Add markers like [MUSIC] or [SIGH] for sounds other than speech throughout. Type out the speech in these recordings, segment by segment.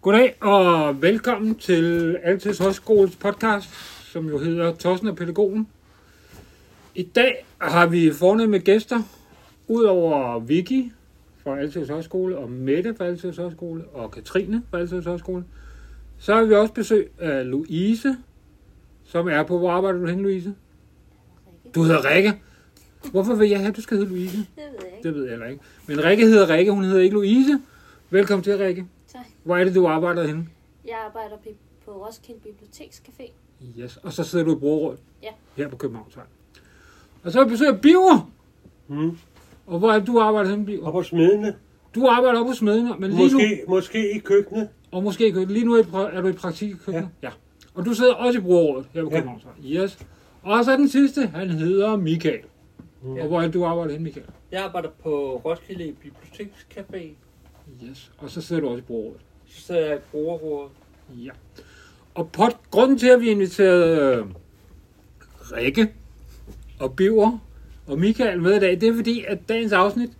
Goddag og velkommen til Altids Højskoles podcast, som jo hedder Tossen og Pædagogen. I dag har vi fornemme gæster, udover Vicky fra Altids Højskole, og Mette fra Altids Højskole, og Katrine fra Altids Højskole. Så har vi også besøg af Louise, som er på, hvor arbejder du hen, Louise? Du hedder Rikke. Hvorfor vil jeg have, at du skal hedde Louise? Det ved jeg ikke. Det ved jeg heller ikke. Men Rikke hedder Rikke, hun hedder ikke Louise. Velkommen til, Rikke. Tak. Hvor er det, du arbejder henne? Jeg arbejder bi- på Roskilde Bibliotekscafé. Yes. Og så sidder du i brugerrådet? Ja. Her på Københavns Vej. Og så besøger jeg Biver. Mm. Og hvor er det, du arbejder henne, Biver? Og på smedene. Du arbejder oppe hos smedene, men lige nu, Måske, måske i køkkenet. og måske ikke. Lige nu er du pra- er du i praktik i køkkenet. Ja. ja. Og du sidder også i brugerrådet her på Ja. Københavns Vej. Yes. Og så den sidste, han hedder Michael. Mm. Og hvor er det, du arbejder henne, Michael? Jeg arbejder på Roskilde Bibliotekscafé, Yes. Og så sidder du også i brugerrådet. så sidder jeg i brugerrådet. Ja. Og pot, grunden til, at vi inviterede øh, Rikke og Biver og Michael med i dag, det er fordi, at dagens afsnit,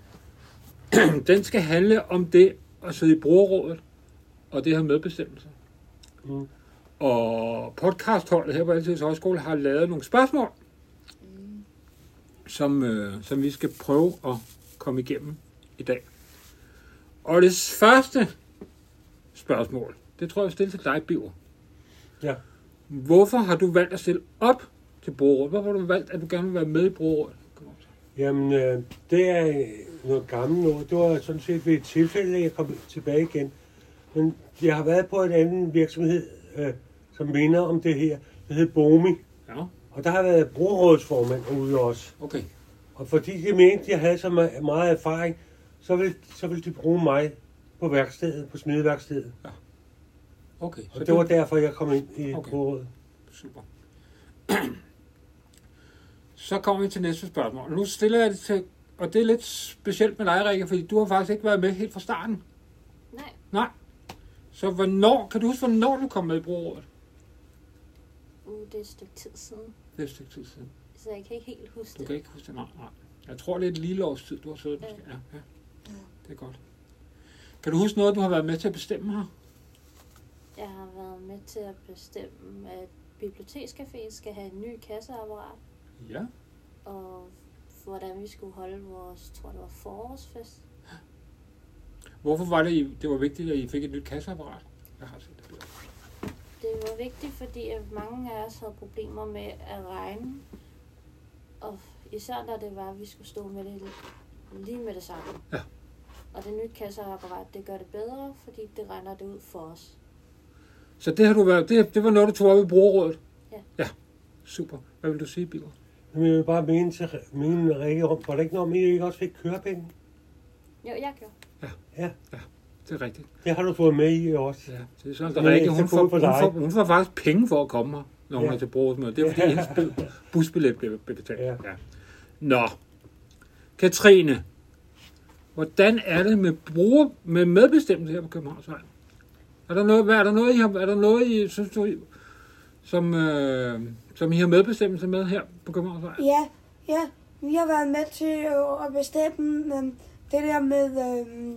[CLEARS THROAT] den skal handle om det at sidde i brugerrådet og det her medbestemmelse. Mm. Og podcastholdet her på Altids Højskole har lavet nogle spørgsmål, som, øh, som vi skal prøve at komme igennem i dag. Og det første spørgsmål, det tror jeg, jeg vil stille til dig, Biver. Ja. Hvorfor har du valgt at stille op til brugerrådet? Hvorfor har du valgt, at du gerne vil være med i brugerrådet? Jamen, øh, det er øh, noget gammelt noget. Det var sådan set ved et tilfælde, at jeg kom tilbage igen. Men jeg har været på en anden virksomhed, øh, som minder om det her. Det hedder Bomi. Ja, Og der har jeg været brugerrådsformand ude også. okay. Og fordi de mente, at jeg havde så me- meget erfaring, så ville, så ville de bruge mig på værkstedet, på smedeværkstedet. okay. Og det var derfor, jeg kom ind i Okay. okay. brugerrådet. Super. [CLEARS THROAT] Så kommer vi til næste spørgsmål. Nu stiller jeg det til, og det er lidt specielt med dig, Rikke, fordi du har faktisk ikke været med helt fra starten. Nej, Nej. Så hvornår, kan du huske, hvornår du kom med i brugerrådet? uh, det er et stykke tid siden, Det er et stykke tid siden. så jeg kan ikke helt huske Du det. kan ikke huske det, nej, nej. Jeg tror, det er et lille års tid, du har siddet. Måske. Ja, ja. Det er godt. Kan du huske noget, du har været med til at bestemme her? Jeg har været med til at bestemme, at Bibliotekscaféen skal have en ny kasseapparat, Ja. og hvordan vi skulle holde vores, tror det var forårsfest. Hvorfor var det, I, det var vigtigt, at I fik et nyt kasseapparat? Jeg har set det. billede. Det var vigtigt, fordi at mange af os havde problemer med at regne, og især når det var, at vi skulle stå med det lige med det samme. Ja. Og det nye kasseapparat, det gør det bedre, fordi det regner det ud for os. Så det har du været, det, det var noget, du tog op i brugerrådet? Ja. Ja, super. Hvad vil du sige, Biver? Men jeg vil bare mene til mine Rikke om, var der ikke noget med, at I ikke også fik kørepenge? Jo, jeg gjorde. Det er rigtigt. Det har du fået med i også. Ja, det er sådan, der Det er Rikke, Altså, ikke hun så får, god hun, for får, dig. hun får faktisk penge for at komme her, når hun Ja. er til brugerrådsmøde. Det er fordi, hendes bil- busbillet bliver bliver betalt. Ja. Ja. Nå, Katrine, hvordan er det med, bruger, med medbestemmelse her på Københavnsvej? Er der noget, hvad, er der noget, I har, er der noget, I synes, du, som, øh, som I har medbestemmelse med her på Københavnsvej? Ja, ja. Vi har været med til øh, at bestemme øh, det der med, øh,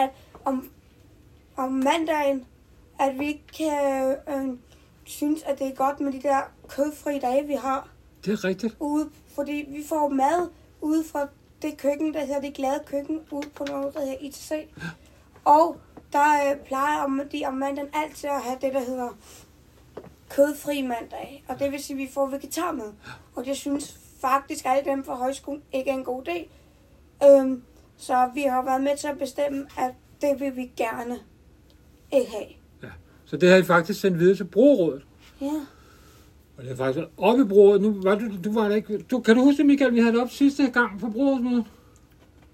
at om, om mandagen, at vi ikke kan øh, synes, at det er godt med de der kødfri dage, vi har Det er rigtigt. ude. Fordi vi får mad ude fra det køkken, der hedder det glade køkken, ude på noget, der hedder ITC. Og der øh, plejer om, de om mandagen altid at have det, der hedder kødfri mandag. Og det vil sige, at vi får vegetar med. Og det synes faktisk alle dem fra højskolen ikke er en god idé. Øhm, så vi har været med til at bestemme, at det vil vi gerne ikke have. Så det har I faktisk sendt videre til brugerrådet. Ja. Og det er faktisk været oppe i brugerrådet. Nu var du, du var der ikke. Du, kan du huske, det, Michael, vi havde det op sidste gang på brugerrådsmødet?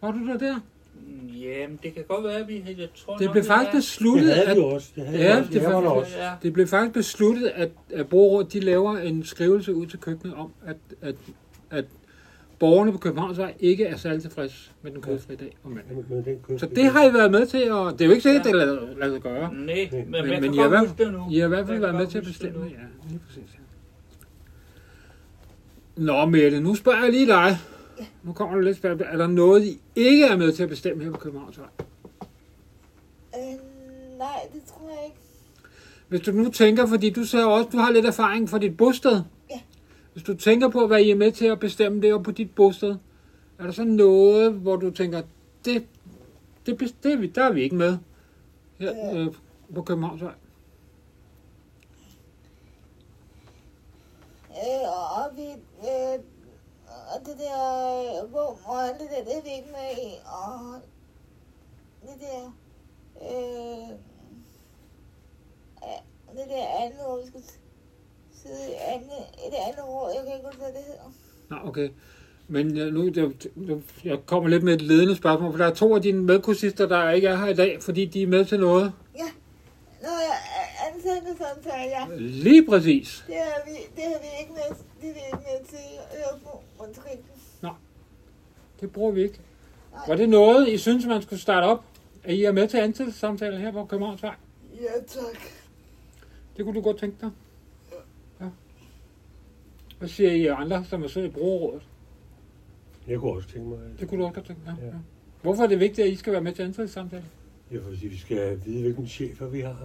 Var du der der? Mm, Jamen, det kan godt være, at vi... Jeg tror, Det nok, blev vi faktisk er- Det besluttet, havde at, vi også. Det havde Ja, vi også. det Det var der fandt- også. Ja. det blev faktisk besluttet, at, at brugerrådet de laver en skrivelse ud til køkkenet om, at, at, at borgerne på Københavnsvej ikke er særlig tilfredse med den kødfri dag om mandag. Med- med den kødfri Så det har I været med til, og det er jo ikke sikkert, Ja. at det er lavet- lavet sig gøre. Nej, men, men, Men- jeg men kan I har godt været- huske det nu. I har i hvert fald Jeg været kan med godt til at huske det bestemme, nu. ja. Lige præcis, ja. Nå, Mette, nu spørger jeg lige dig. Nu kommer der lidt spørgsmål. Er der noget, I ikke er med til at bestemme her på Københavns Vej? Øh, Nej, det tror jeg ikke. Hvis du nu tænker, fordi du sagde også, du har lidt erfaring fra dit bosted. Ja. Hvis du tænker på, hvad I er med til at bestemme det på dit bosted, er der så noget, hvor du tænker, det, det, bes- det er vi, der er vi ikke med her Ja. øh, på Københavnsvej? Øh, og, og vi... Øh, og det der øh, bum og alt det der, det er vi ikke med i. Og det der... Øh, ja, det der andet, hvor vi skal sidde i, andet, i det andet råd. Jeg kan ikke huske, hvad det hedder. Nå, okay. Men jeg, nu, jeg, jeg kommer lidt med et ledende spørgsmål, for der er to af dine medkursister, der ikke er her i dag, fordi de er med til noget. Nå, jeg ansætter sådan, så ja. Lige præcis. Det er vi, det er vi ikke med, det er vi ikke med til at høre på. Undskyld. Det bruger vi ikke. Nej. Var det noget, I synes, man skulle starte op? At I er med til ansættelsessamtaler her på Københavnsvej? Ja, tak. Det kunne du godt tænke dig? Ja. Hvad siger I andre, som er siddet i brugerrådet? Jeg kunne også tænke mig, at Det kunne du også godt tænke dig? Ja. Ja. ja. Hvorfor er det vigtigt, at I skal være med til ansættelsessamtaler? jeg vil sige, vi skal vide, hvilken chefer vi har.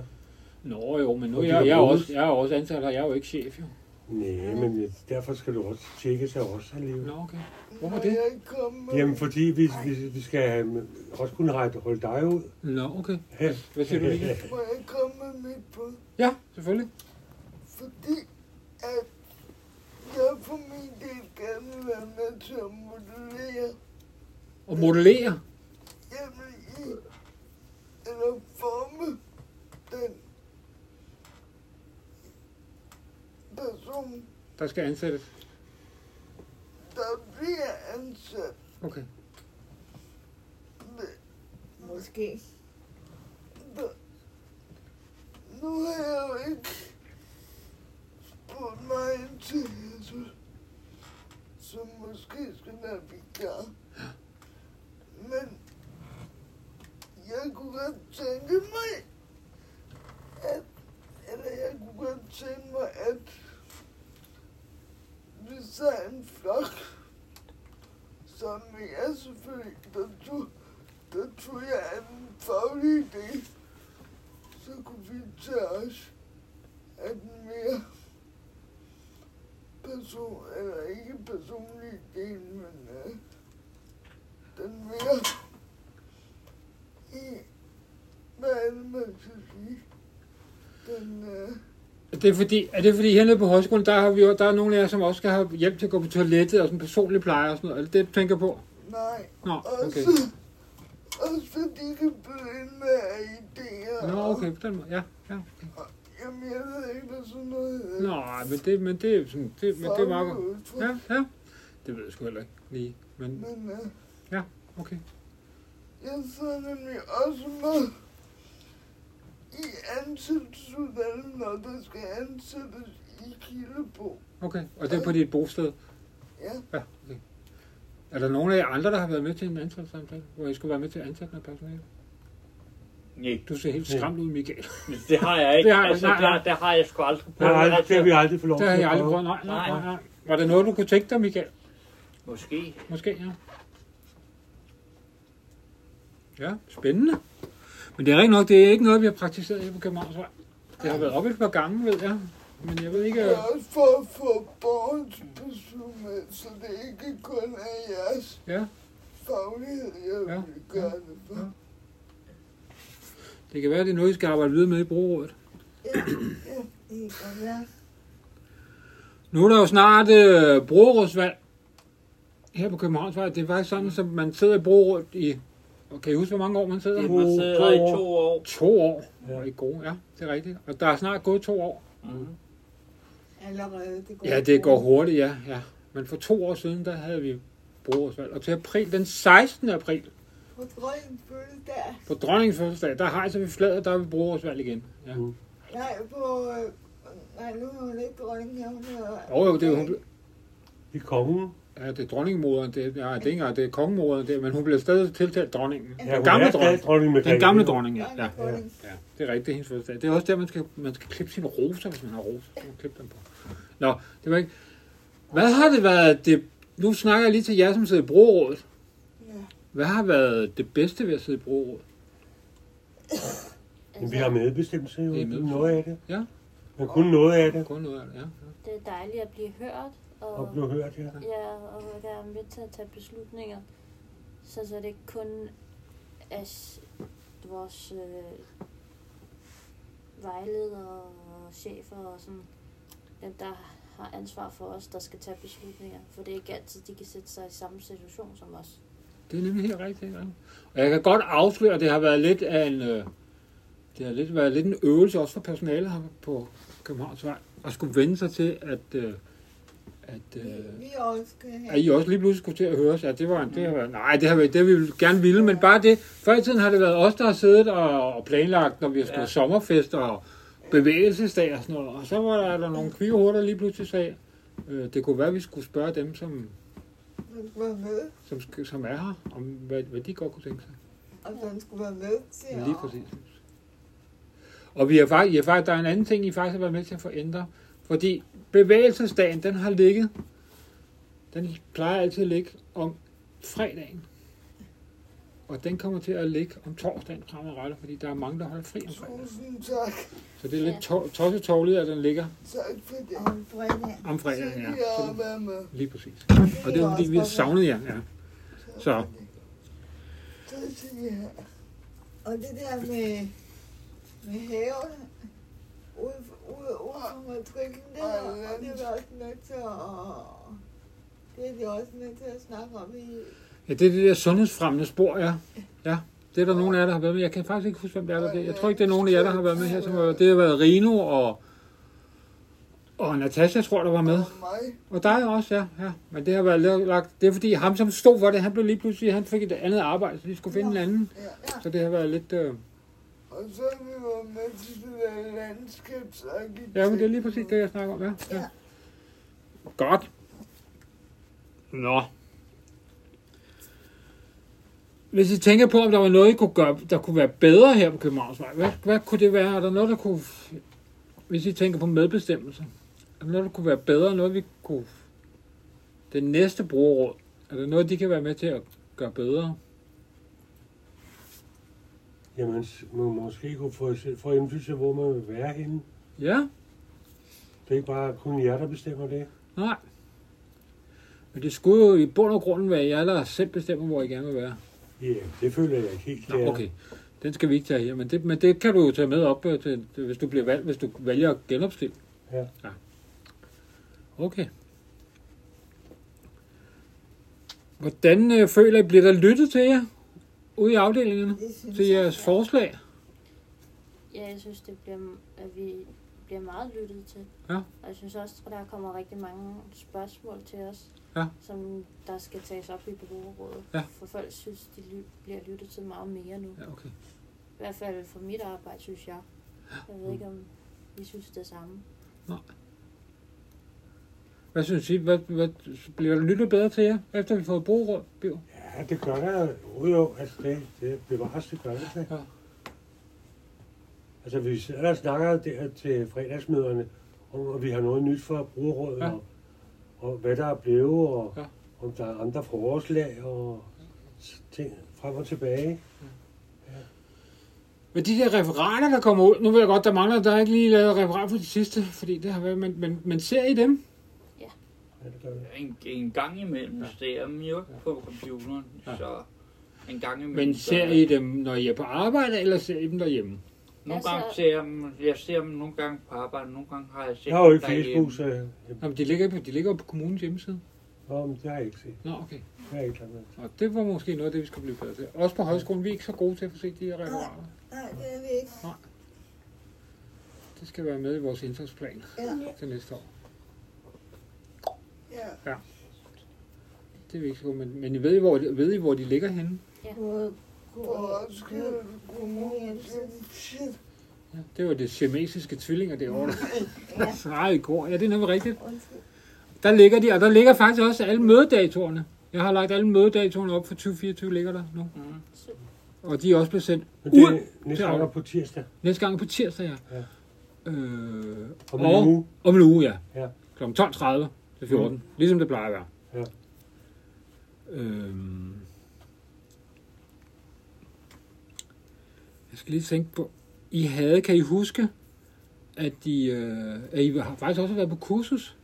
Nå jo, men nu Og er de jeg, kan jeg, er bruges. også, jeg er også ansat her, jeg er jo ikke chef jo. Nej, men derfor skal du også tjekkes af os alligevel. Nå, okay. Hvorfor det? Jamen, fordi vi, vi, vi skal øhm, også kunne række- holde dig ud. Nå, okay. Hvad siger du lige? Må jeg komme med mit bud? Ja, selvfølgelig. Fordi at jeg for min del gerne vil være med til at modellere Og modellere. hjemme i eller forme den person, Der skal ansættes. der bliver ansat Okay. med. Måske. Nu har jeg jo ikke spurgt mig ind til Jesus, som måske skal være vikar. Men jeg kunne godt tænke mig, at, eller jeg kunne godt tænke mig, at hvis der er en flok, som vi er selvfølgelig, der tog, der tog jeg er en faglig idé, så kunne vi tage os af den mere person, eller ikke personlige del, men øh, den mere i, hvad er det, man skal sige, den, øh, Er Det er fordi, er det fordi hernede på højskolen, der, har vi jo, der er nogle af jer, som også skal have hjælp til at gå på toilettet og sådan personlig pleje og sådan noget. Er det det, du tænker på? nej, Nå, Ah, okay. også, også fordi de kan byde ind med af idéer, Nå, og- okay, på den måde. Ja, ja. Okay. jamen jeg ved ikke, hvad sådan noget hedder. Nå, men det, men det, er sådan, det, men det er meget godt. Faglige udtryk. eh, Ja, ja. Det ved jeg sgu heller ikke lige. Men Men øh, okay. Jeg sidder nemlig også med i ansættelsesudvalget, når der skal ansættes i Kildebo. Okay, og det er på dit bosted? Ja. Ja, okay. Er der nogen af jer andre, der har været med til en ansættelsessamtale, hvor I skulle være med til at ansætte noget personale? Nej, Du ser helt skræmt ud, Michael. det har jeg ikke. Det har jeg- altså, nej, der, nej. der har jeg sgu aldrig Altså, [LAUGHS] på. Nej, det har vi aldrig fået lov Det har til jeg at aldrig prøvet. prøve. Nej, nej, nej, Nej. nej. Var det noget, du kunne tænke dig, Michael? Måske. Måske, ja. Ja, spændende. Men det er rigtig nok, det er ikke noget, vi har praktiseret her på Københavnsvej. Det har været op et par gange, ved jeg. Men jeg ved ikke... Det øh, er også for at få borgerens person med, så det ikke kun er jeres Ja. faglighed, jeg Ja, vil gøre det for. ja. Det kan være, det er noget, I skal arbejde videre med i brugerrådet. Det kan være. Nu er der jo snart øh, brugerrådsvalg her på Københavnsvej. Det er faktisk sådan, som man sidder i brugerrådet i... Kan I huske, hvor mange år man sidder? Det Ja. er man sidder her i to år. To år. Ja. Ja. I er gode, ja. Det er rigtigt. Og der er snart gået to år. Mm. Allerede. Det går Ja, det går hurtigt, ja. ja. Men for to år siden, der havde vi brugerådsvalg. Og til april, den 16. april, På dronningens fødselsdag. på dronningens fødselsdag, der hejser vi flaget, der er vi brugerådsvalg igen. Ja. Mm. Nej, på... Øh, nej, nu er hun ikke dronning, ja, hun er... Og jo, det er jo, hun, ble- Vi er kongen. ja, det er dronningmoderen, det, er- ja, det er ikke engang, det er kongemoderen, det, er- men hun bliver stadig tiltalt dronningen. Ja, den hun gamle er stadig dronning. dronning Margrethe. Den gamle dronning, ja. dronning, ja. dronning. Ja, det er rigtigt, det er hendes fødselsdag. Det er også der, man skal, man skal klippe sine roser, hvis man har roser. Så kan man klippe dem på. Nå, det var ikke... Hvad har det været det... Nu snakker jeg lige til jer, som sidder i brugerrådet. Ja. Hvad har været det bedste ved at sidde i brugerrådet? Men Altså, vi har medbestemmelse jo. Det er medbestemmelse. Noget af det. Ja. Men kun noget af det. Kun noget af det, ja. det er dejligt at blive hørt. Og, Og blive hørt, ja. Ja, og være med til at tage beslutninger. Så, så det ikke kun er s- vores øh, vejledere og chefer og sådan, dem der har ansvar for os, der skal tage beslutninger. For det er ikke altid, de kan sætte sig i samme situation som os. Det er nemlig helt rigtigt. Ja. Og jeg kan godt afsløre, at det har været lidt af en, øh, det har lidt, været lidt en øvelse også for personalet her på Københavns Vej, at skulle vende sig til, at, øh, at, øh, Vi også skal at have. I også lige pludselig skulle til at høre os. Ja, det var en, det har været, nej, det har været det, vi ville gerne ville, men bare det. Før i tiden har det været os, der har siddet og, og planlagt, når vi har skulle Ja. ja. sommerfester og bevægelsesdag og sådan noget. Og så var der, der nogle kvige hoveder, der lige pludselig sagde, øh, det kunne være, at vi skulle spørge dem, som, Man skulle være med, som, sk- som er her, om hvad, hvad de godt kunne tænke sig. og man skulle være med til Ja. Lige præcis. Og vi har faktisk, ja, faktisk, der er en anden ting, I faktisk har været med til at forændre. Fordi bevægelsesdagen, den har ligget, den plejer altid at ligge om fredagen. Og den kommer til at ligge om torsdagen fremadrettet, fordi der er mange, der holder fri om fredagen. Tusind tak. Så det er lidt to- tossetårligt, at den ligger Tak for det. om fredag. om fredagen. Ja. Tidligere Så, mamma. lige præcis. Det Og det er jo, fordi, vi har også godt. savnet jer. Ja. Så. Tak skal I have. Og det der med, med haven, ude, ude, ude for matriklen der, og det er vi også nødt til at... Det er vi også nødt til at snakke om i... Ja, det er det der sundhedsfremmende spor, ja. Ja, det er der nogen af jer, der har været med. Jeg kan faktisk ikke huske, hvem det er, der er det. Jeg tror ikke, det er nogen af jer, der har været med her. Som har, det har været Rino og, og Natasha, tror jeg, der var med. Og mig. Og dig også, ja. ja. Men det har været lav- lagt... Det er fordi, ham som stod for det, han blev lige pludselig... Han fik et andet arbejde, så de skulle finde en anden. Ja. Så det har været lidt... Øh... Og så er vi jo med til det der landskabsarkitekt. Ja, men det er lige præcis det, jeg snakker om, ja. ja. Godt. Nå. Hvis I tænker på, om der var noget, I kunne gøre, der kunne være bedre her på Københavnsvej, hvad, hvad kunne det være? Er der noget, der kunne... Hvis I tænker på medbestemmelse, er der noget, der kunne være bedre? Noget, vi kunne... Det næste brugerråd, er der noget, de kan være med til at gøre bedre? Jamen, s- man måske kunne få, få indflydelse, hvor man vil være henne. Ja? Det er ikke bare kun jer, der bestemmer det. Nej. Men det skulle jo i bund og grunden være jer, der selv bestemmer, hvor I gerne vil være. Ja, det føler jeg ikke helt. det Nå, er. okay. Den skal vi ikke tage her, men det, men det kan du jo tage med op, øh, til, til- hvis du bliver valgt, hvis du vælger at genopstille. Ja. ja. Okay. Hvordan øh, føler I, bliver der lyttet til jer ude i afdelingen? Det synes Til jeres forslag? Ja, jeg synes, det bliver, at vi bliver meget lyttet til. Ja. Og jeg synes også, at der kommer rigtig mange spørgsmål til os, Ja. som der skal tages op i brugerrådet. Ja. For folk synes, de ly- bliver lyttet til meget mere nu. Ja, okay. I hvert fald for mit arbejde, synes jeg. Jeg ved ikke, Mm. om I synes det samme. Hvad synes I? Hvad, hvad, bliver der lyttet bedre til jer, efter vi har fået brugråd? Biv? Ja, det gør der jo. jo. Altså, det, det bevares, det gør det. da. Ja. Altså, vi sidder og snakker der til fredagsmøderne, om at vi har noget nyt for brugerrådet, Ja. ja. og, og hvad der er blevet, og Ja. ja. om der er andre forslag, og s- ting frem og tilbage. Men de der referater, der kommer ud, nu ved jeg godt, der mangler, der er ikke lige lavet referat for de sidste, fordi det har været, men, men, men ser I dem? Ja, det gør det. En, en gang imellem ja. ser jeg dem jo ikke på computeren, Ja. ja. så en gang imellem. Men så- ser I dem, når I er på arbejde, eller ser I dem derhjemme? Nogle Altså- gange ser jeg dem, jeg ser dem nogle gange på arbejde, nogle gange har jeg set Jeg har jo dem ikke Facebook, så jeg, Nå, men de ligger, på, de ligger på kommunens hjemmeside. nå, men det har jeg ikke set. Nå, okay. Det har jeg ikke lagt mærke til. Og det var måske noget af det, vi skulle blive bedre til. Også på højskolen, vi er ikke så gode til at få set de her referater. Nej, det er vi ikke. Det skal være med i vores indsatsplan Ja. til næste år. Ja. Det er vi ikke så gode, men, men I ved, I, hvor, de- ved I, hvor de ligger henne? På, på, Og også skrive kommunens hjemmeside. Ja, det var det siamesiske tvillinger derovre. Der [LAUGHS] svarer i kor. Ja, det er nemlig rigtigt. Undskyld. Der ligger de, og der ligger faktisk også alle mødedatoerne. Jeg har lagt alle mødedatoerne op for 2024, ligger der nu. Mhm. Og de er også blevet sendt Men det ud er næste gang er på tirsdag. næste gang på tirsdag, ja. Ja. Øh, Om en uge. Om en uge, ja. Ja. Kl. 12.30 til 14. Mm. Ligesom det plejer at være. Ja. Øhm. Jeg skal lige tænke på... I havde, kan I huske, at I, øh, at I har faktisk også har været på kursus?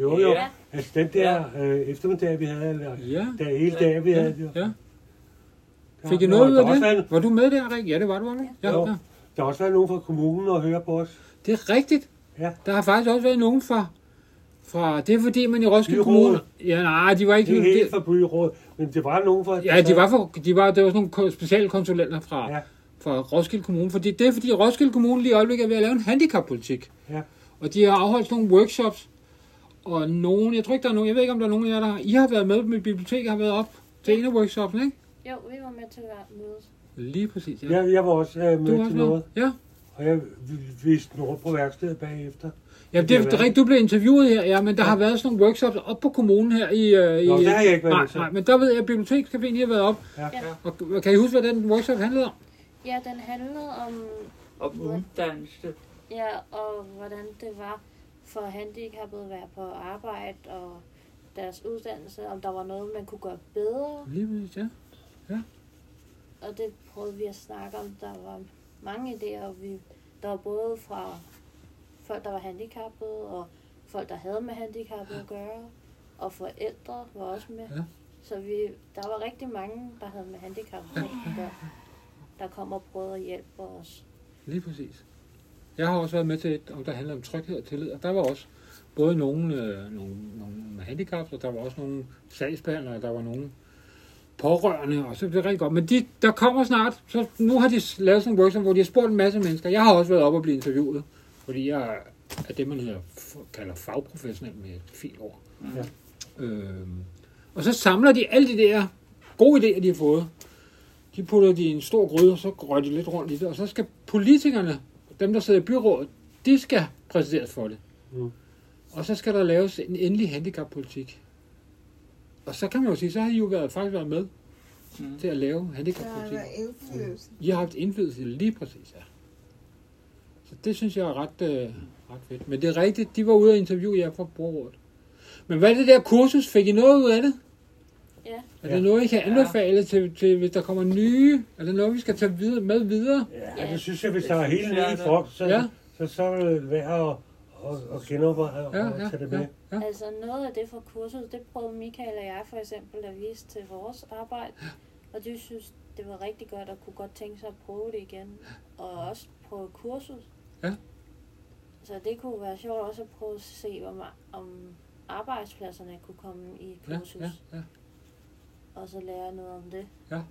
Jo, jo. Ja. Altså den der øh, eftermiddag, vi havde, eller Ja. der hele dag, vi Ja, havde. der- ja. der- Fik I der noget var- ud der af også det? været- Var du med der, Rik? Ja, det var du, var du? Ja, Jo. ja. Der har også været nogen fra kommunen og høre på os. Det er rigtigt. Ja. Der har faktisk også været nogen fra... fra det er fordi, man i Roskilde Kommune... Byrådet. Ja, nej, de var ikke... Det er helt Det, fra byrådet, men det var nogen fra... ja, de var, for, de var, det var sådan nogle ko- specialkonsulenter fra, Ja. fra Roskilde Kommune. Fordi det er fordi, Roskilde Kommune lige i øjeblikket er ved at lave en handicappolitik. Ja. Og de har afholdt sådan nogle workshops. Og nogen, jeg tror ikke, der er nogen, jeg ved ikke, om der er nogen af jer, der har, I har været med, mit bibliotek har været op til en af workshopsene, ikke? Jo, vi var med til hver møde. Lige præcis, ja. Jeg, jeg var også øh, du med har til også noget, noget. Ja. og jeg vi- vi snurrede på værkstedet bagefter. Ja, det, det er rigtigt, du blev interviewet her, ja, men der ja. har været sådan nogle workshops op på kommunen her i... Øh, Nå, i det har jeg ikke været nej, med til. nej, men der ved jeg, at bibliotekscaféen I har været op. Ja. Ja. Og kan I huske, hvad den workshop handlede om? Ja, den handlede om, Om uddannelse. ja, og hvordan det var for handicappede at være på arbejde og deres uddannelse, om der var noget, man kunne gøre bedre. Lige præcis, ja. Og det prøvede vi at snakke om. Der var mange idéer, og vi, der var både fra folk, der var handicappede, og folk, der havde med handicappede at gøre, og forældre var også med. Ja. Så vi, der var rigtig mange, der havde med handicappede at gøre, der kom og prøvede at hjælpe os. Lige præcis. Jeg har også været med til et, om der handler om tryghed og tillid, og der var også både nogle, øh, nogle, nogle med handicaps, og der var også nogle sagsbehandlere, og der var nogle pårørende, og så blev det rigtig godt. Men de, der kommer snart, så nu har de s- lavet sådan en workshop, hvor de har spurgt en masse mennesker. Jeg har også været op og blive interviewet, fordi jeg er det, man hedder, kalder fagprofessionel med et fint ord. Mm. Ja. Øhm, og så samler de alle de der gode idéer, de har fået, de putter de i en stor gryde, og så rører de lidt rundt i det, og så skal politikerne, dem der sidder i byrådet, de skal præsenteres for det. Mm. Og så skal der laves en endelig handicappolitik. Og så kan man jo sige, så har I jo været, faktisk været med Mm. til at lave Der har handicappolitik. været indflydelse. I har haft indflydelse lige præcis, ja. Så det synes jeg er ret, øh, ret fedt. Men det er rigtigt, de var ude og interviewe jer fra brugerrådet. Men hvad er det der kursus? Fik I noget ud af det? Ja. Er Ja. det noget, I kan anbefale til, til, hvis der kommer nye? Er det noget, vi skal tage videre, med videre? Ja, det synes jeg, hvis der Det er synes helt jeg, nye der- folk, så, Ja. ja. så, så er det værd at, at, at genoverveje og Ja, ja, ja, tage det ja. med. Ja. Altså noget af det fra kurset, det prøvede Michael og jeg for eksempel at vise til vores arbejde, og de synes, det var rigtig godt og kunne godt tænke sig at prøve det igen, og også prøve kurset. Ja. Så det kunne være sjovt også at prøve at se, om, om arbejdspladserne kunne komme i Ja, kursus, ja, ja. og så lære noget om det. Og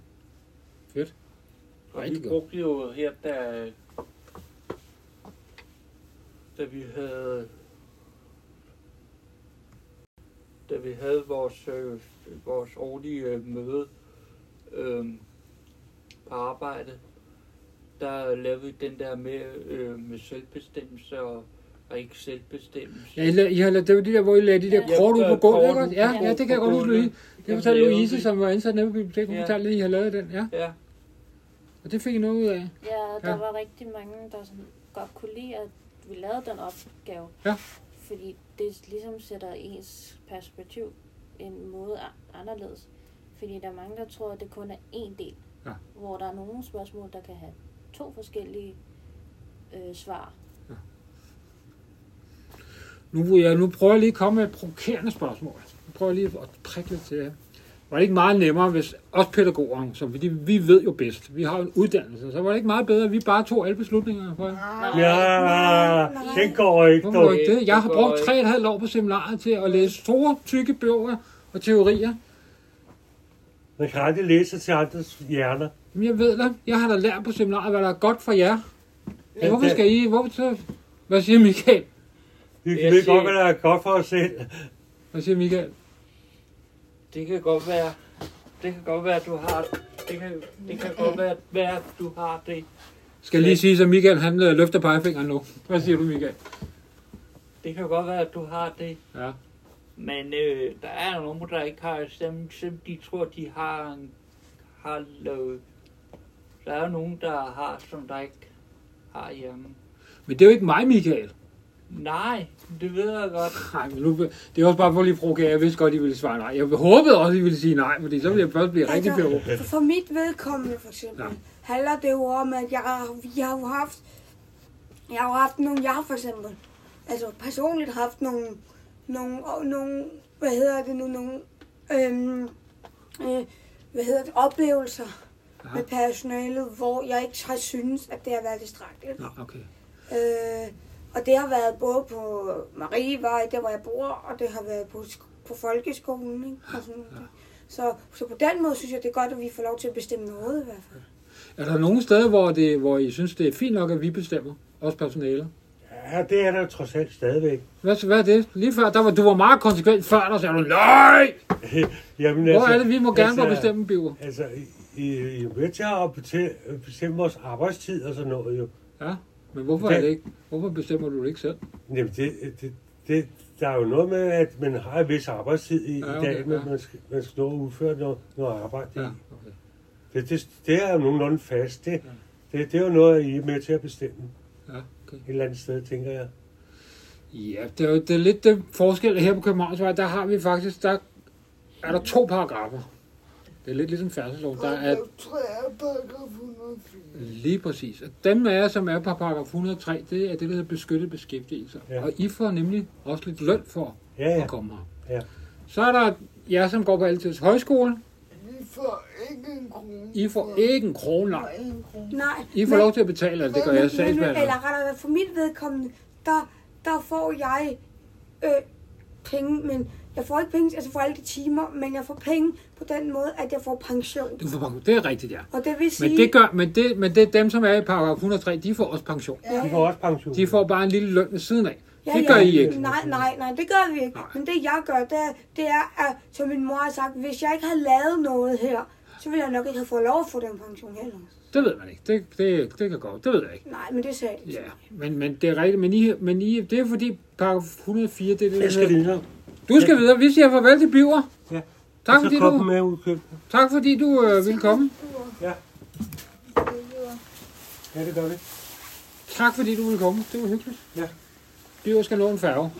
Rigtig vi godt. brugte jo her, da, da vi havde da vi havde vores, øh, vores årlige øh, møde øh, på arbejde, der lavede vi den der med, øh, med selvbestemmelse og, og ikke selvbestemmelse. Ja, I, la- I har, la- det var de der, hvor I lagde de der Ja. kort ud på Ja, gulvet, kort ikke? også? Ja, ud på- ja, det kan på jeg godt huske, gulvet. Louise. Det Dem fortalte lavede Louise, vi. som var ansat nede på biblioteket, hun Ja. fortalte, at I har lavet den, ja. Ja, Og det fik I noget ud af. Ja, og der Ja. ja. var rigtig mange, der sådan godt kunne lide, at vi lavede den opgave. Ja. Fordi det ligesom sætter ens perspektiv en måde a- anderledes. Fordi der er mange, der tror, at det kun er én del. Ja. Hvor der er nogle spørgsmål, der kan have to forskellige øh, svar. Nu, ja, nu prøver jeg lige at komme med et provokerende spørgsmål. Nu prøver jeg lige at prikke lidt til jer. Var det ikke meget nemmere, hvis os pædagogerne, som vi, vi ved jo bedst, vi har jo en uddannelse, så var det ikke meget bedre, at vi bare tog alle beslutningerne for jer? Ja, nej. den går ikke. Hvorfor må Dog. jeg ikke det? Jeg har Hvorfor brugt tre og et halvt år på seminaret til at læse store, tykke bøger og teorier. Man kan aldrig læse til andres hjerner. Men jeg ved da, jeg har da lært på seminaret, hvad der er godt for jer. Ja, hvorfor det- skal I? Hvorfor så? Hvad siger Michael? Vi Jeg ved siger- godt, hvad der er godt for os selv. Hvad siger Michael? det kan godt være, det kan godt være, at du har det kan, det kan godt være, at- være, at du har det Skal jeg lige sige, at Michael han øh, løfter pegefingeren nu. Hvad siger du, Michael? Det kan godt være, at du har det, Ja. men øh, der er nogen, der ikke har stemme, selvom de tror, de har en har lavet. Der er nogen, der har, som der ikke har hjemme. Men det er jo ikke mig, Michael. Nej, det ved jeg godt. Nej, men nu, det er også bare for lige at provokere. Jeg vidste godt, I ville svare nej. Jeg håbede også, I ville sige nej, fordi så ville jeg først blive rigtig Altså, pædagog. For, for mit vedkommende for eksempel, Ja. ja. handler det jo om, at jeg, har- vi har jo haft, jeg har jo haft nogle, jeg har for eksempel, altså personligt haft nogle, nogle, og nogle hvad hedder det nu, nogle, øhm, øh, hvad hedder det, oplevelser Aha. med personalet, hvor jeg ikke har synes, at det har været tilstrækkeligt. Nå, okay. Øh, og det har været både på Marievej, der hvor jeg bor, og det har været på, sk- på folkeskolen. Ikke? Og sådan noget. Så, så på den måde synes jeg, det er godt, at vi får lov til at bestemme noget i hvert fald. Er der nogle steder, hvor, det, hvor I synes, det er fint nok, at vi bestemmer? Også personalet? Ja, det er der trods alt stadigvæk. Hvad, hvad er det? Lige før, der var, du var meget konsekvent før, der sagde du, nej! Jamen, Hvor er det, vi må gerne altså, bestemme, Biver? Altså, I, I er med til at bete- bestemme vores arbejdstid og sådan noget jo. Ja, men hvorfor, Det- er det ikke? hvorfor bestemmer du det ikke selv? Jamen, det, det, det, der er jo noget med, at man har en vis arbejdstid i, Ja, ja, okay, okay, i dag, men ja. man skal, man skal nå at udføre noget, noget arbejde. Ja, Ja. okay. Det, det, det er jo nogenlunde fast. Det, ja. det, det er jo noget, I er med til at bestemme Ja, okay. et eller andet sted, tænker jeg. Ja, det er, jo- det er lidt den forskel her på Københavnsvej. Der har vi faktisk, der er der to paragrafer. Det er lidt ligesom færdselsloven. Der er Paragraf 3 er paragraf 104. lige præcis. Og dem af jer, som er på paragraf 103, det er det, der hedder beskyttet beskæftigelse. Ja. Ja. Og I får nemlig også lidt løn for Ja, ja. at komme her. Ja. Så er der jer, som går på Altids Højskole. Vi får ikke en krone. I får ikke en krone, nej. Nej, en krone. Nej, I får lov til at betale, altså det gør jeg selv. Eller rettere, for mit vedkommende, der, der får jeg øh, penge, men jeg får ikke penge altså for alle de timer, men jeg får penge på den måde, at jeg får pension. Du får pension. Det er rigtigt, ja. Og det vil sige... Men det, gør, men, det, men det er dem, som er i paragraf 103, de får også pension. De får også pension. De får bare en lille løn ved siden af. Det gør I ikke. Nej, nej, nej, det gør vi ikke. Nej. Nej. Men det jeg gør, det er, det er, at, som min mor har sagt, hvis jeg ikke havde lavet noget her, så ville jeg nok ikke have fået lov at få den pension heller. Det ved man ikke. Det, det, det kan godt. Det ved jeg ikke. Nej, men det sagde jeg. Ja, men, men det er rigtigt. Men, I, men I, det er fordi paragraf 104, det er det, Jeg skal der hedder- videre. Du skal videre. Vi siger farvel til Biver. Ja. Tak Og fordi så kom du, med ud i køkkenet. tak fordi du øh, ville komme. Ja. Ja, det gør vi. Tak fordi du ville komme. Det var hyggeligt. Ja. Biver skal nå en færge.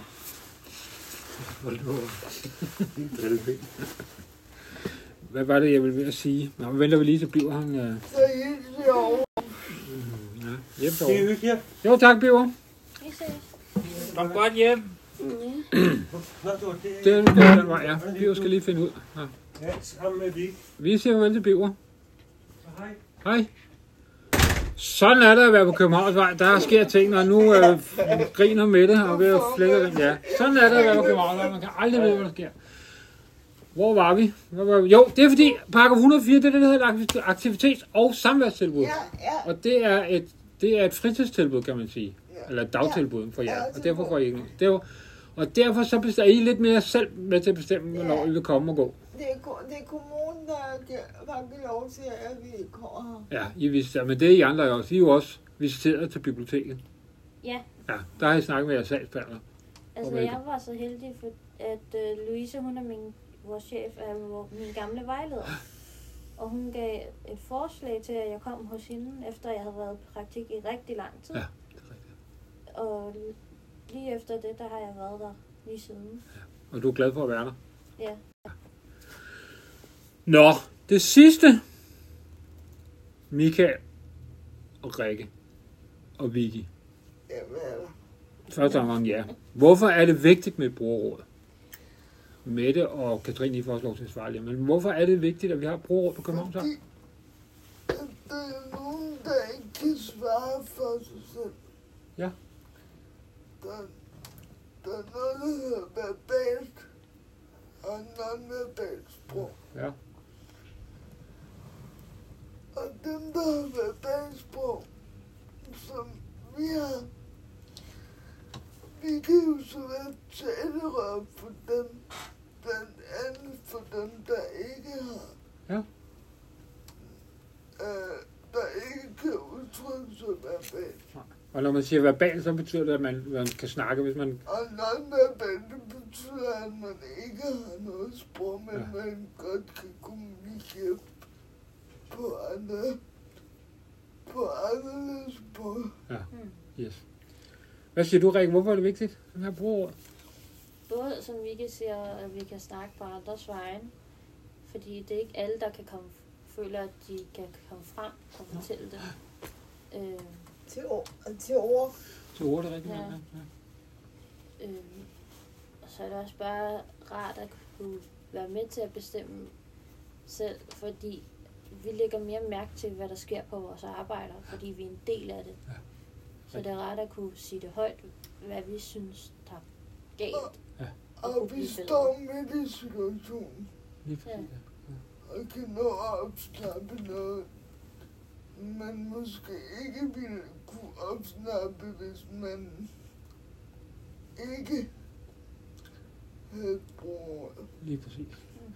Hvad var det, jeg ville ved at sige? Nå, men venter vi lige, så bliver han... Øh, Så hilser jeg over. ja, hjem Det er derovre. hyggeligt. Jo, tak, Biver. Vi ses. Kom godt hjem. Nå, det var det. Det er den vej, ja. Biver skal lige finde ud. Ja. Ja, sammen med Vig. Vi siger farvel til Biver. Hej. Hej. Sådan er det at være på Københavnsvej. Der sker ting, og nu øh, griner med det, og ved at flække den. Ja. Sådan er det at være på Københavnsvej. Man kan aldrig vide, hvad der sker. Hvor var vi? Hvor var vi? Jo, det er fordi pakke 104, det er det, der hedder aktivit- aktivitets- og samværstilbud. Ja, ja. Og det er et, det er et fritidstilbud, kan man sige. Ja. Eller et dagtilbud for jer. Ja, Og derfor går I ikke ud. Det var, og derfor så bestemmer I lidt mere selv med til at bestemme, hvornår I vil komme og gå. Det er, ko- det er kommunen, der gi- der giver lov til, at vi kommer her. Ja, I visiterer, men det er I andre jo også. I er jo også visiteret til biblioteket. Ja, Ja, der har jeg snakket med jeres sagsbehandler. altså Hvorfor ikke? jeg var så heldig, for at øh, Louise, hun er min, vores chef, er vor- min gamle vejleder. Og hun gav et forslag til, at jeg kom hos hende, efter jeg havde været i praktik i rigtig lang tid. Ja, det er rigtigt. Og lige efter det, der har jeg været der lige siden. Og du er glad for at være der? Ja. Nå, det sidste. Michael og Rikke og Vicky. Ja, hvad er der? Første omgang, ja. Hvorfor er det vigtigt med et brugerråd? Mette og Katrine, I får også lov til at svare lige, men hvorfor er det vigtigt, at vi har et brugerråd på København så? Fordi at der er nogen, der ikke kan svare for sig selv. Ja. Der, der er noget, der hedder verbalt og non-verbalt sprog. Ja. Og dem, der har verbalt sprog, som vi har, vi kan jo så være talerør for dem, blandt andet for dem, der ikke har. Ja. Øh, der ikke kan udtrykke sig verbalt. Og når man siger verbal, så betyder det, at man, man kan snakke, hvis man... Og non-verbalt det betyder, at man ikke har noget sprog, men Ja. ja. man godt kan kommunikere på andre, på anderledes måde. Mm. Yes. Hvad siger du, Rikke? Hvorfor er det vigtigt, at vi har et brugerråd? Både som vi kan se, at vi kan snakke på andres vejen, fordi det er ikke alle, der kan komme føler, at de kan komme frem og fortælle det. Øh, Til, ord, til ord. Så ord er det rigtigt. Ja. Ja. Ja. ja. øh, og så er det også bare rart at kunne være med til at bestemme selv, fordi vi lægger mere mærke til, hvad der sker på vores arbejder, fordi vi er en del af det. Ja. Så det er rart at kunne sige det højt, hvad vi synes, der er galt. Og vi står midt i situationen Lige præcis, Ja. ja. og kan nå at opsnappe noget, man måske ikke ville kunne opsnappe, hvis man ikke havde brugt Lige præcis. Mm.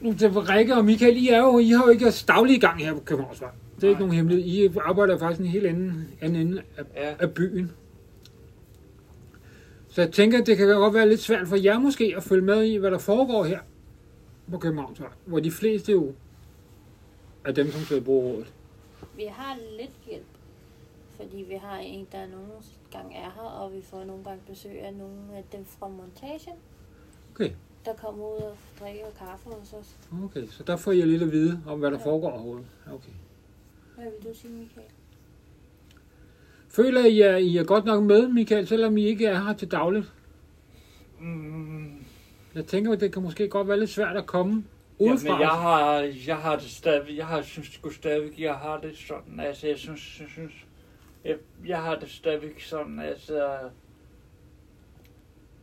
Nu til Rikke og Michael, I, er jo, I har jo ikke jeres daglige gang her på Københavnsvej. Det er ikke Nej. nogen hemmelighed. I arbejder faktisk en helt anden, anden ende af, Ja. af byen. Så jeg tænker, det kan godt være lidt svært for jer måske at følge med i, hvad der foregår her på Københavnsvej. Hvor de fleste jo er dem, som sidder i brugerrådet. Vi har lidt hjælp, fordi vi har en, der nogle gange er her, og vi får nogle gange besøg af nogle af dem fra montagen, Okay. der kommer ud og drikker kaffe hos os. Okay, så der får jeg lidt at vide om, hvad der Ja. foregår overhovedet. Okay. Hvad vil du sige, Michael? Føler I, at I er godt nok med, Michael, selvom I ikke er her til dagligt? Mm, Jeg tænker, at det kan måske godt være lidt svært at komme udefra. Jamen, jeg har, jeg har det stadig, jeg har, synes sgu stadigvæk, jeg har det sådan, altså, jeg synes, jeg synes, jeg, jeg har det stadigvæk sådan, altså,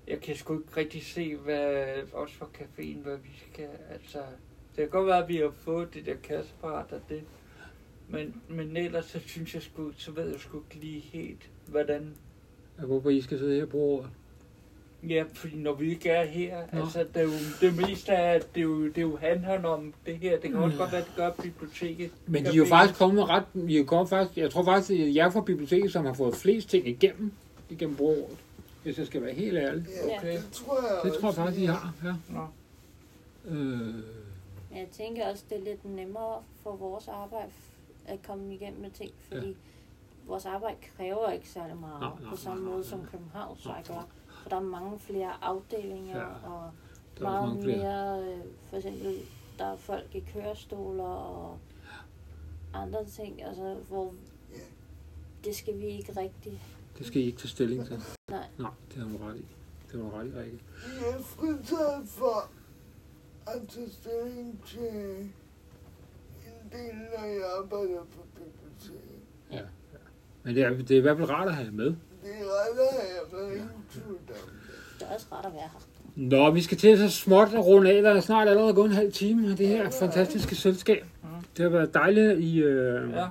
jeg kan sgu ikke rigtig se, hvad, også for caféen, hvad vi skal, altså, det kan godt være, at vi har fået det der kasseapparat og det, men, men ellers, så synes jeg sgu, så ved jeg sgu ikke lige helt, hvordan Ja, Hvorfor I skal sidde her og bruge ordet? Ja, fordi når vi ikke er her, Nå. Nå. altså det, er jo, det meste er, det er jo, det er jo handler om det her. Det kan også Ja. godt være, at det gør biblioteket. Men de er Gør jo biblioteket. faktisk kommet ret... I er godt faktisk, jeg tror faktisk, at jeg er fra biblioteket, som har fået flest ting igennem, igennem brugerordet. Hvis jeg skal være helt ærlig. Ja, Okay. det tror jeg Det tror jeg også, faktisk, I har. Ja. Nå. Øh, Men jeg tænker også, det er lidt nemmere for vores arbejde at komme igennem med ting, fordi vores arbejde kræver ikke særlig meget Nej, nej, på samme nej, nej, måde nej. som København så Nej. gør. For der er mange flere afdelinger Ja. ja. og der er også mange meget flere. mere, øh, for eksempel, der er folk i kørestoler og andre ting, altså, hvor det skal vi ikke rigtig. Det skal I ikke tage stilling til. Nej. Nej, det har du ret i. Det har du ret i, Rikke. Vi er fritaget for at tage stilling til en del, når jeg arbejder på biblioteket. Men det er, det er i hvert fald rart at have jer med. Det er ret af, at jeg var ingen tvivl om. Det er også rart at være her. Nå, vi skal til så småt at runde af. Der er snart allerede gået en halv time af det her fantastiske selskab. Det har været dejligt, at I øh, ja. Ja.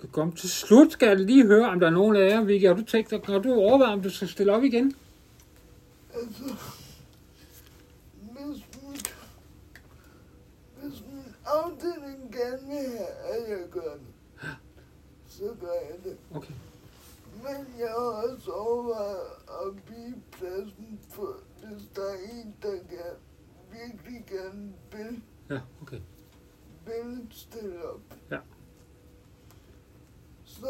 kan komme til slut. Skal jeg lige høre, om der er nogen af jer, Vicky, har du tænkt dig, har du overvejet, om du skal stille op igen? Altså, hvis min, hvis min afdeling gerne vil have, at jeg gør det, så gør jeg det. Okay. Men jeg har også overvejet at blive pladsen, for hvis der er en, der gerne, virkelig gerne vil, Ja, okay. vil stille op. Ja. Så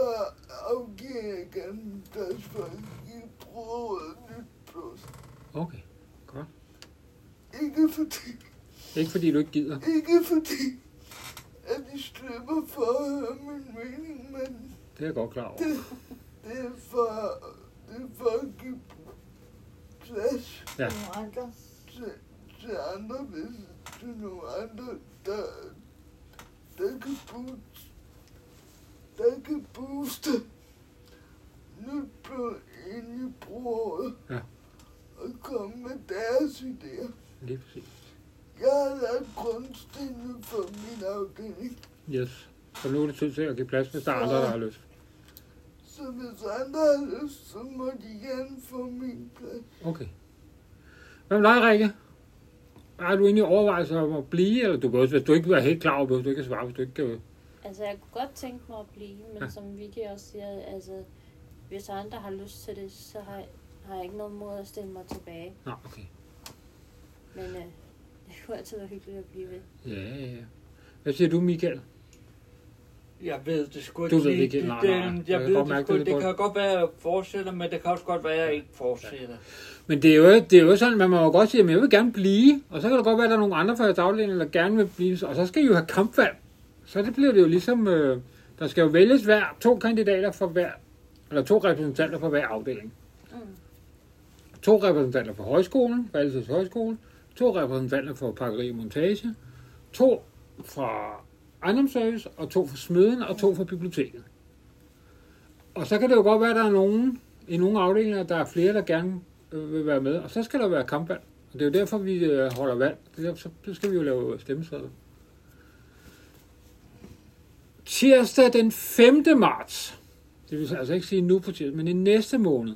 afgiver jeg gerne min plads for i bruget nyt plus. Okay. Ikke fordi, Ikke fordi du ikke gider. ikke fordi, at de slipper for at høre min mening, men Det er jeg godt klar over. det er for, det er for at give plads Ja. Nogle andre. til, til andre, hvis til nogle andre, der, der kan booste, der kan booste nyt blod ind i bruget Ja. og komme med deres idéer. Lige præcis. Jeg har lavet grundstenene for min afdeling, Yes. Så nu er det tid til at give plads, hvis der er andre, der har lyst. så hvis andre har lyst, så må de gerne få min plads. Okay. Hvad med dig, Rikke? Har du egentlig overvejelser om at blive, eller du kan også, hvis du ikke er helt klar over, hvis du ikke kan svare, hvis du ikke kan... Altså, jeg kunne godt tænke mig at blive, men Ja. ja. som Vicky også siger, altså, hvis andre har lyst til det, så har jeg, har jeg ikke noget mod at stille mig tilbage. Nå, okay. Men øh, [LAUGHS] det kunne altid være hyggeligt at blive ved. Ja, ja, ja. Hvad siger du, Michael? Jeg ved det sgu Du ikke. ved lige. ikke, Det- nej, det- nej. Jeg Jeg kan ved godt det mærke, sgu det ikke. er Det lidt kan godt være, at jeg fortsætter, men det kan også godt være, at jeg ikke fortsætter. Men det er jo, det er jo sådan, man må jo godt sige, at jeg vil gerne blive, og så kan det godt være, at der er nogle andre fra jeres afdeling, der gerne vil blive, og så skal I jo have kampvalg. Så det bliver det jo ligesom, øh, der skal jo vælges hver, to kandidater for hver, eller to repræsentanter for hver afdeling. Mm. To repræsentanter for højskolen, for Alses Højskole, to repræsentanter for Pakkeri og Montage, to fra ejendomsservice, og to fra smeden, og to fra biblioteket. Og så kan det jo godt være, at der er nogen i nogle afdelinger, der er flere, der gerne øh, vil være med. Og så skal der være kampvalg. Og det er jo derfor, vi øh, holder valg. Det er, derfor- så skal vi jo lave stemmesedler. Tirsdag den 5. marts, det vil altså ikke sige nu på tirsdag, men i næste måned,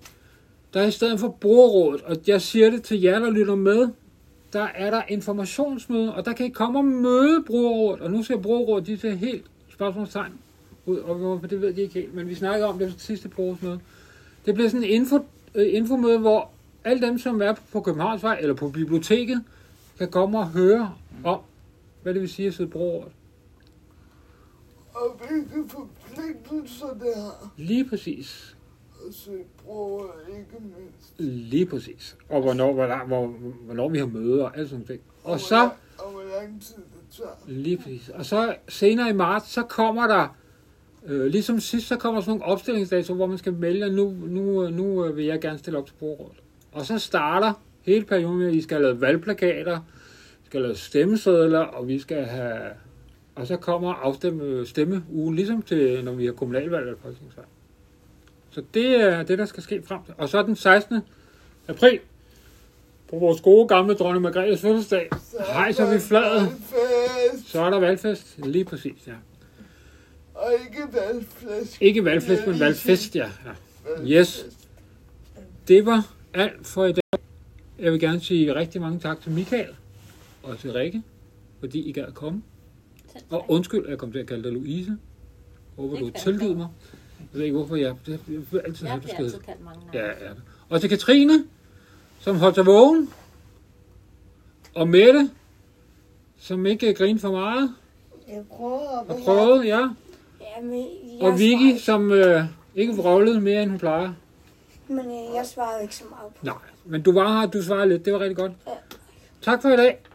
der er i stedet for brugerrådet, og jeg siger det til jer, der lytter med, der er der informationsmøde, og der kan I komme og møde brugerrådet. Og nu ser brugerrådet, de ser helt spørgsmålstegn ud, og hvorfor det ved de ikke helt, men vi snakkede om det på sidste brugersmøde. Det bliver sådan en info, øh, infomøde, hvor alle dem, som er på Københavnsvej eller på biblioteket, kan komme og høre om, hvad det vil sige at sidde brugerrådet. Og hvilke forpligtelser det har. Lige præcis. Og så bruger jeg ikke mindst. Lige præcis. Og hvornår, hvor, hvor, hvornår vi har møder og alt sådan ting. Og så, hvor- Og hvor lang tid det tager. lige præcis. Og så senere i marts, så kommer der, øh, ligesom sidst, så kommer sådan nogle opstillingsdatoer, hvor man skal melde, at nu, nu, øh, nu øh, vil jeg gerne stille op til brugerrådet. Og så starter hele perioden med, at I skal have lavet valgplakater, vi skal have lavet stemmesedler, og vi skal have... Og så kommer afstemme øh, stemmeugen, ligesom til, når vi har kommunalvalg eller folketingsvalg. Så det er det, der skal ske frem til. Og så den 16. april, på vores gode gamle dronning Margrethes fødselsdag, hejser vi flaget. Valgfest. Så er der valgfest, lige præcis, ja. Og ikke valgflæsk. Ikke valgfest, men valgfest, ja. ja. Yes. Det var alt for i dag. Jeg vil gerne sige rigtig mange tak til Michael og til Rikke, fordi I gad at komme. Selv tak. Og undskyld, at jeg kom til at kalde dig Louise. Håber, Det du kan jeg tilgiver godt. mig. Jeg ved ikke, hvorfor jeg... Det jeg vil altid Jeg have, du bliver skal altid hedde. kaldt mange navne. Ja, ja. Og til Katrine, som holdt sig vågen. Og Mette, som ikke griner for meget. Jeg prøver at Og være prøvede, ja. Ja, men jeg Og Vicky, svarede- som øh, ikke vrøvlede mere, end hun plejer. Men øh, jeg svarede ikke så meget på Nej, men du var her, og du svarede lidt. Det var rigtig godt. Tak for i dag.